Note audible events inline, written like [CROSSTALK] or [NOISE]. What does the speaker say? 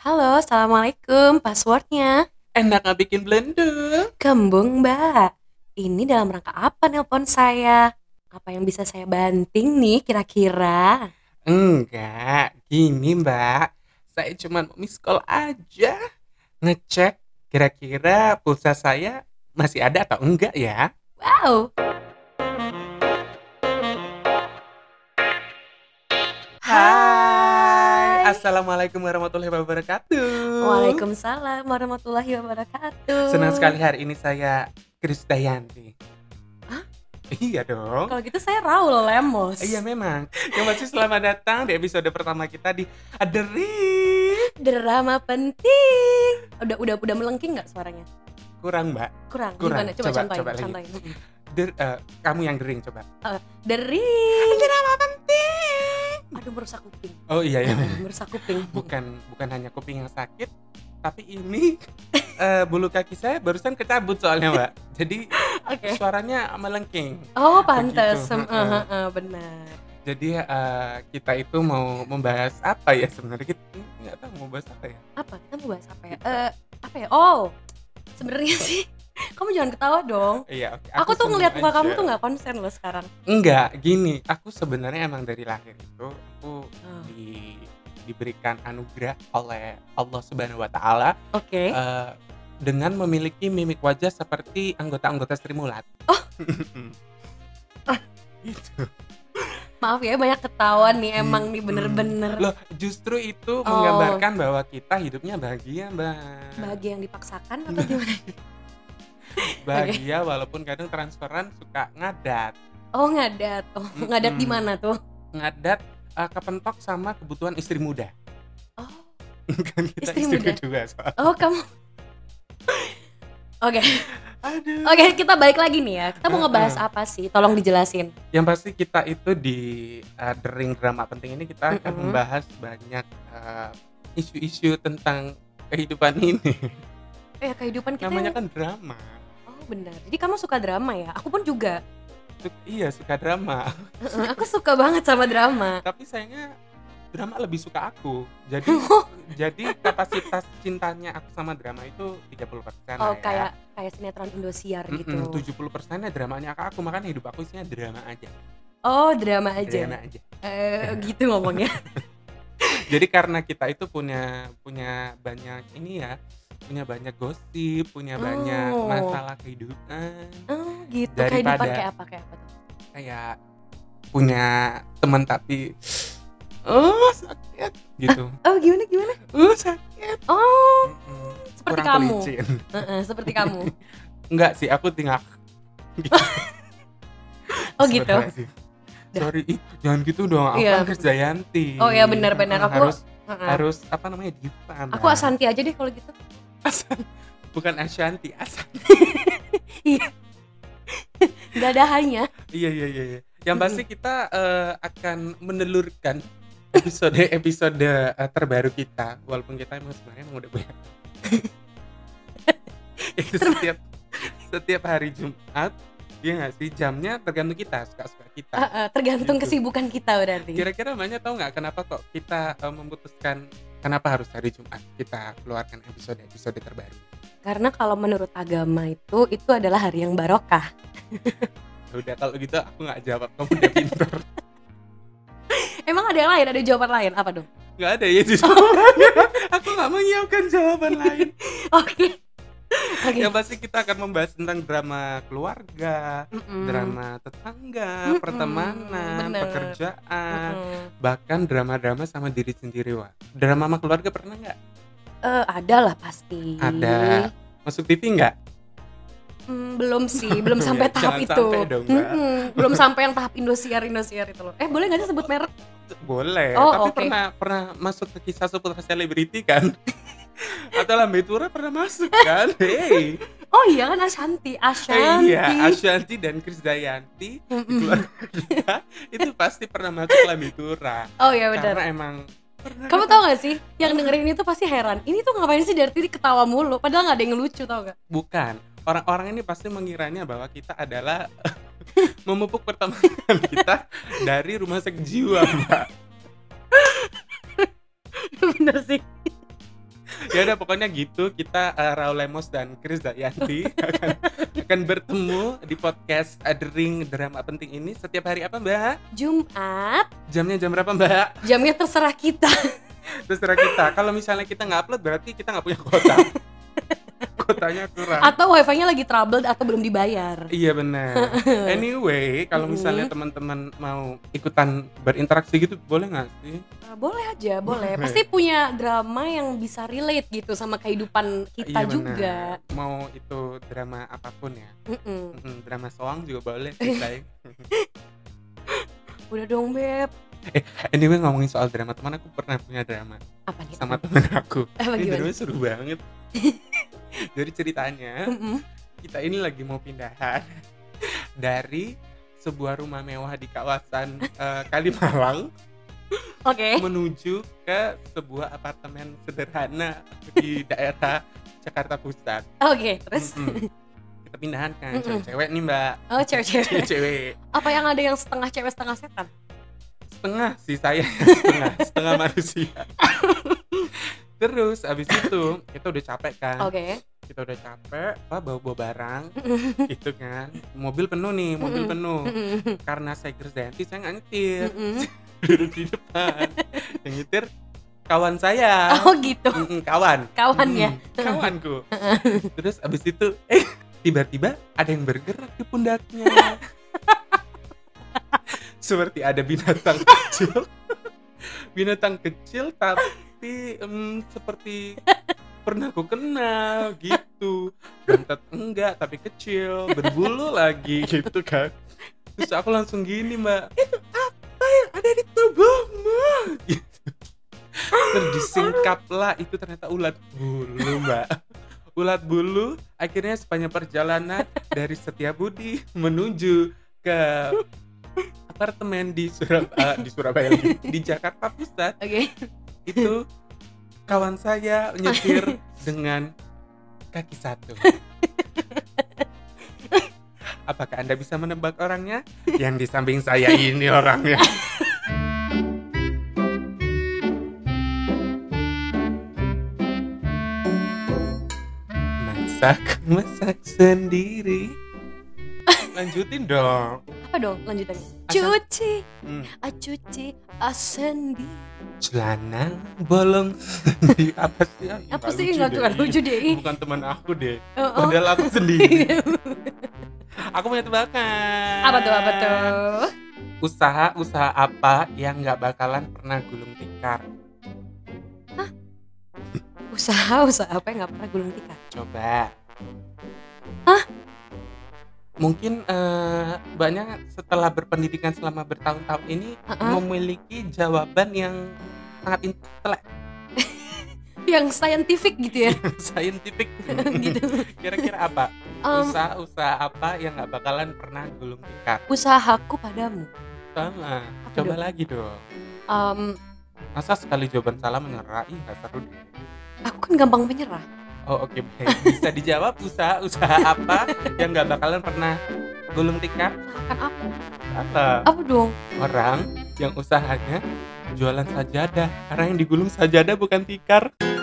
Halo, Assalamualaikum. Passwordnya Enak Eh, nggak bikin blender? Kembung Mbak. Ini dalam rangka apa nelpon saya? Apa yang bisa saya banting nih kira-kira? Enggak, gini mbak. Saya cuma mau miss call aja. Ngecek kira-kira pulsa saya masih ada atau enggak ya. Wow. Hai. Assalamualaikum warahmatullahi wabarakatuh. Waalaikumsalam warahmatullahi wabarakatuh. Senang sekali hari ini saya Kris Dayanti. Hah? Iya dong. Kalau gitu saya Raul Lemos. Iya memang. Yang pasti selamat datang di episode pertama kita di The Ring. Drama penting. Udah udah udah melengking nggak suaranya? Kurang mbak. Kurang. Kurang. Gimana? Coba, Coba- contohin, coba lagi. contohin. The- eh, kamu yang The Ring coba. Dering. Drama penting. Aduh merusak kuping. Oh iya [LAUGHS] iya. merusak kuping. Oh, bukan bukan hanya kuping yang sakit tapi ini [LAUGHS] eh, bulu kaki saya barusan kecabut soalnya mbak jadi Oke. suaranya melengking Oh pantes, Em, Begitu, eh, heeh. eh, benar. jadi eh, kita itu mau membahas apa ya sebenarnya kita nggak tahu mau bahas apa ya Apa kita mau bahas apa ya? Eh, apa ya? Oh, sebenarnya sih, [LAUGHS] kamu jangan ketawa dong. iya oke Aku, tuh seneng ngeliat muka aja. kamu tuh nggak konsen loh sekarang. enggak gini aku sebenarnya emang dari lahir itu aku Oh, di diberikan anugerah oleh Allah Subhanahu Wa Taala Oke. eh, dengan memiliki mimik wajah seperti anggota-anggota Srimulat. [LAUGHS] Oh. Ah. Gitu. Maaf ya banyak ketawa nih emang nih bener-bener Loh, justru Oh. itu menggambarkan bahwa kita hidupnya bahagia, Mbak. bahagia yang dipaksakan atau gimana? Bahagia walaupun kadang transferan suka ngadat. Oh ngadat, oh Mm-mm. ngadat di mana tuh? Ngadat eh, kepentok sama kebutuhan istri muda. [LAUGHS] Oh, kan kita Istri istri, muda. kedua soal. oh kamu. Oke, Aduh. oke kita balik lagi nih ya. Kita mau Heeh. ngebahas apa sih? Tolong dijelasin. Yang pasti kita itu di eh, The Ring drama penting ini kita akan Mm-mm. membahas banyak eh, isu-isu tentang kehidupan ini. Eh kehidupan kita Namanya yang... kan drama. Oh benar. Jadi kamu suka drama ya? Aku pun juga. [LAUGHS] Su- Iya, suka drama. Heeh, aku suka banget sama drama. tapi sayangnya drama lebih suka aku [LAUGHS] jadi jadi kapasitas cintanya aku sama drama itu 30% persen ya. Oh, kayak kayak sinetron Indosiar gitu. 70 persennya dramanya kakak aku makanya hidup aku isinya drama aja Oh, drama aja. drama aja Eh, gitu ngomongnya. [LAUGHS] jadi karena kita itu punya punya banyak ini ya punya banyak gosip Oh. punya banyak masalah kehidupan Oh, gitu. Kehidupan Daripada- kayak apa kayak apa? tuh? kayak punya teman tapi oh sakit gitu Oh, gimana gimana? oh sakit Oh, Mm-mm. seperti Kurang kamu. pelicin. Heeh, seperti kamu. [LAUGHS] Enggak sih, aku tinggal. Oh, gitu. Sebenarnya sih. Dah. Sorry, ih, jangan gitu dong. Aku Iya. kan kerjayanti. Oh, iya, benar-benar. Aku- harus Heeh. harus apa namanya di depan. Aku Mbak. Asanti aja deh kalau gitu. [LAUGHS] Asan. Bukan Ashanti, Asan. [LAUGHS] Gak ada [LAUGHS] hanya. iya, iya, iya. iya. Yang pasti kita eh, akan menelurkan [LAUGHS] episode-episode eh, terbaru kita, walaupun kita emang sebenarnya emang udah banyak. [LAUGHS] Itu setiap setiap hari Jumat, ya nggak sih jamnya tergantung kita, suka-suka kita. Heeh, tergantung Gitu. kesibukan kita berarti. Kira-kira banyak tahu nggak kenapa kok kita eh, memutuskan kenapa harus hari Jumat kita keluarkan episode-episode terbaru? Karena kalau menurut agama itu itu adalah hari yang barokah. Ya Udah kalau gitu aku nggak jawab [LAUGHS] kamu udah pinter. Emang ada yang lain? Ada jawaban lain apa dong? [LAUGHS] Nggak ada ya [LAUGHS] jawabannya. aku nggak menyiapkan jawaban lain. Oke. Oke. Yang pasti kita akan membahas tentang drama keluarga, Mm-mm. drama tetangga, Mm-mm, pertemanan, bener. pekerjaan, Mm-mm. bahkan drama-drama sama diri sendiri wah. Drama sama keluarga pernah nggak? Eh, ada lah pasti. Ada. Masuk TV nggak? Hmm, belum sih, [LAUGHS] belum sampai Ya, tahap jangan itu. sampai dong, Mbak. Mm-mm, belum sampai yang tahap Indosiar Indosiar itu loh. Eh, boleh nggak sih sebut merek? boleh Oh, tapi oke. pernah pernah masuk ke kisah seputar selebriti kan [LAUGHS] atau lambe tura pernah masuk [LAUGHS] kan hey Oh iya kan Ashanti, Eh, Ashanti. iya Ashanti dan Krisdayanti Mm-mm. keluarga [LAUGHS] kita itu pasti pernah masuk lambe tura Oh iya benar. karena emang pernah Kamu kan- tau gak sih, yang dengerin ini tuh pasti heran. Ini tuh ngapain sih dari tadi ketawa mulu, padahal nggak [LAUGHS] ada yang lucu tau gak? bukan orang-orang ini pasti mengiranya bahwa kita [LAUGHS] adalah memupuk pertemanan kita dari rumah sakit jiwa mbak Bener sih. ya udah pokoknya gitu kita eh, Raul Lemos dan Chris Dayanti [LAUGHS] akan, akan bertemu di podcast eh, The Ring drama penting ini setiap hari apa Mbak? Jumat Jamnya jam berapa Mbak? jamnya terserah kita. Terserah kita. Kalau misalnya kita nggak upload berarti kita nggak punya kuota. Kuotanya kurang. Atau wifi-nya lagi troubled atau belum dibayar. Iya [LAUGHS] benar. Anyway, kalau misalnya Mm. teman-teman mau ikutan berinteraksi gitu, boleh nggak sih? Nah, boleh aja, boleh. [LAUGHS] Boleh. Pasti punya drama yang bisa relate gitu sama kehidupan kita Iya, benar. juga. Mau itu drama apapun ya, Mm-mm. Mm, drama soang juga [LAUGHS] boleh. sih, sayang. Udah dong beb. anyway ngomongin soal drama, teman aku pernah punya drama Apa nih? sama teman aku. [LAUGHS] Apa Ini gimana? dramanya seru banget. [LAUGHS] Jadi ceritanya Mm-mm. kita ini lagi mau pindahan [LAUGHS] dari sebuah rumah mewah di kawasan eh, Kalimalang [LAUGHS] Oke. menuju ke sebuah apartemen sederhana [LAUGHS] di daerah Jakarta Pusat. Oke, terus Mm-mm. Kita pindahan kan, Mm-mm. cewek-cewek nih mbak. Oh, cewek-cewek. Cewek-cewek. apa yang ada yang setengah cewek setengah setan? Setengah sih saya, [LAUGHS] setengah, setengah [LAUGHS] manusia. Terus abis itu kita udah capek kan, Oke. kita udah capek, apa bawa-bawa [LAUGHS] barang, gitu kan. Mobil penuh nih, mobil Mm-mm. penuh. Mm-mm. Karena saya Krisdayanti, saya nggak nyetir, [LAUGHS] [LAUGHS] Mm-mm. duduk di depan. Yang nyetir kawan saya. Oh gitu. ya? Mm-mm, kawan. Kawannya. Hmm, [LAUGHS] kawanku. Terus abis itu, eh tiba-tiba ada yang bergerak di pundaknya. [LAUGHS] Seperti ada [LAUGHS] binatang kecil. binatang kecil tapi em, seperti pernah aku kenal gitu. Bentet enggak tapi kecil, berbulu lagi gitu kan. Terus aku langsung gini, Mbak. Itu apa yang ada di tubuhmu? Gitu. Terus disingkaplah itu ternyata ulat bulu, Mbak. Ulat bulu akhirnya sepanjang perjalanan dari Setiabudi menuju ke apartemen di Surab eh, di Surabaya lagi, di Jakarta Pusat Oke. itu kawan saya [LAUGHS] nyetir dengan kaki satu. Apakah Anda bisa menebak orangnya? Yang di samping saya ini [LAUGHS] orangnya. Masak, masak sendiri. Lanjutin dong. Apa dong lanjutannya? Asal- Cuci, Hmm. ah cuci, ah sendi. Celana bolong [LAUGHS] sendiri. Apa sih? Ah, Apa nggak sih lucu nggak deh. Iya. nggak lucu deh? bukan teman aku deh Oh, oh. padahal aku [LAUGHS] sendiri aku punya tebakan apa tuh apa tuh? usaha usaha apa yang nggak bakalan pernah gulung tikar Usaha usaha apa yang nggak pernah gulung tikar? coba Hah? mungkin eh, banyak setelah berpendidikan selama bertahun-tahun ini Uh-uh. memiliki jawaban yang sangat intelek Yang scientific gitu ya? [LAUGHS] saintifik [LAUGHS] gitu. kira-kira apa Em, usaha usaha apa yang nggak bakalan pernah gulung tikar usahaku padamu. sama Apa coba dong? lagi dong Em, Masa sekali jawaban salah menyerah? Ih, nggak seru deh. aku kan gampang menyerah. Oh, oke. baik. Bisa dijawab usaha-usaha apa yang nggak bakalan pernah gulung tikar? Salahkan aku. Salah. Apa dong? Orang yang usahanya jualan sajadah. Karena yang digulung sajadah bukan tikar.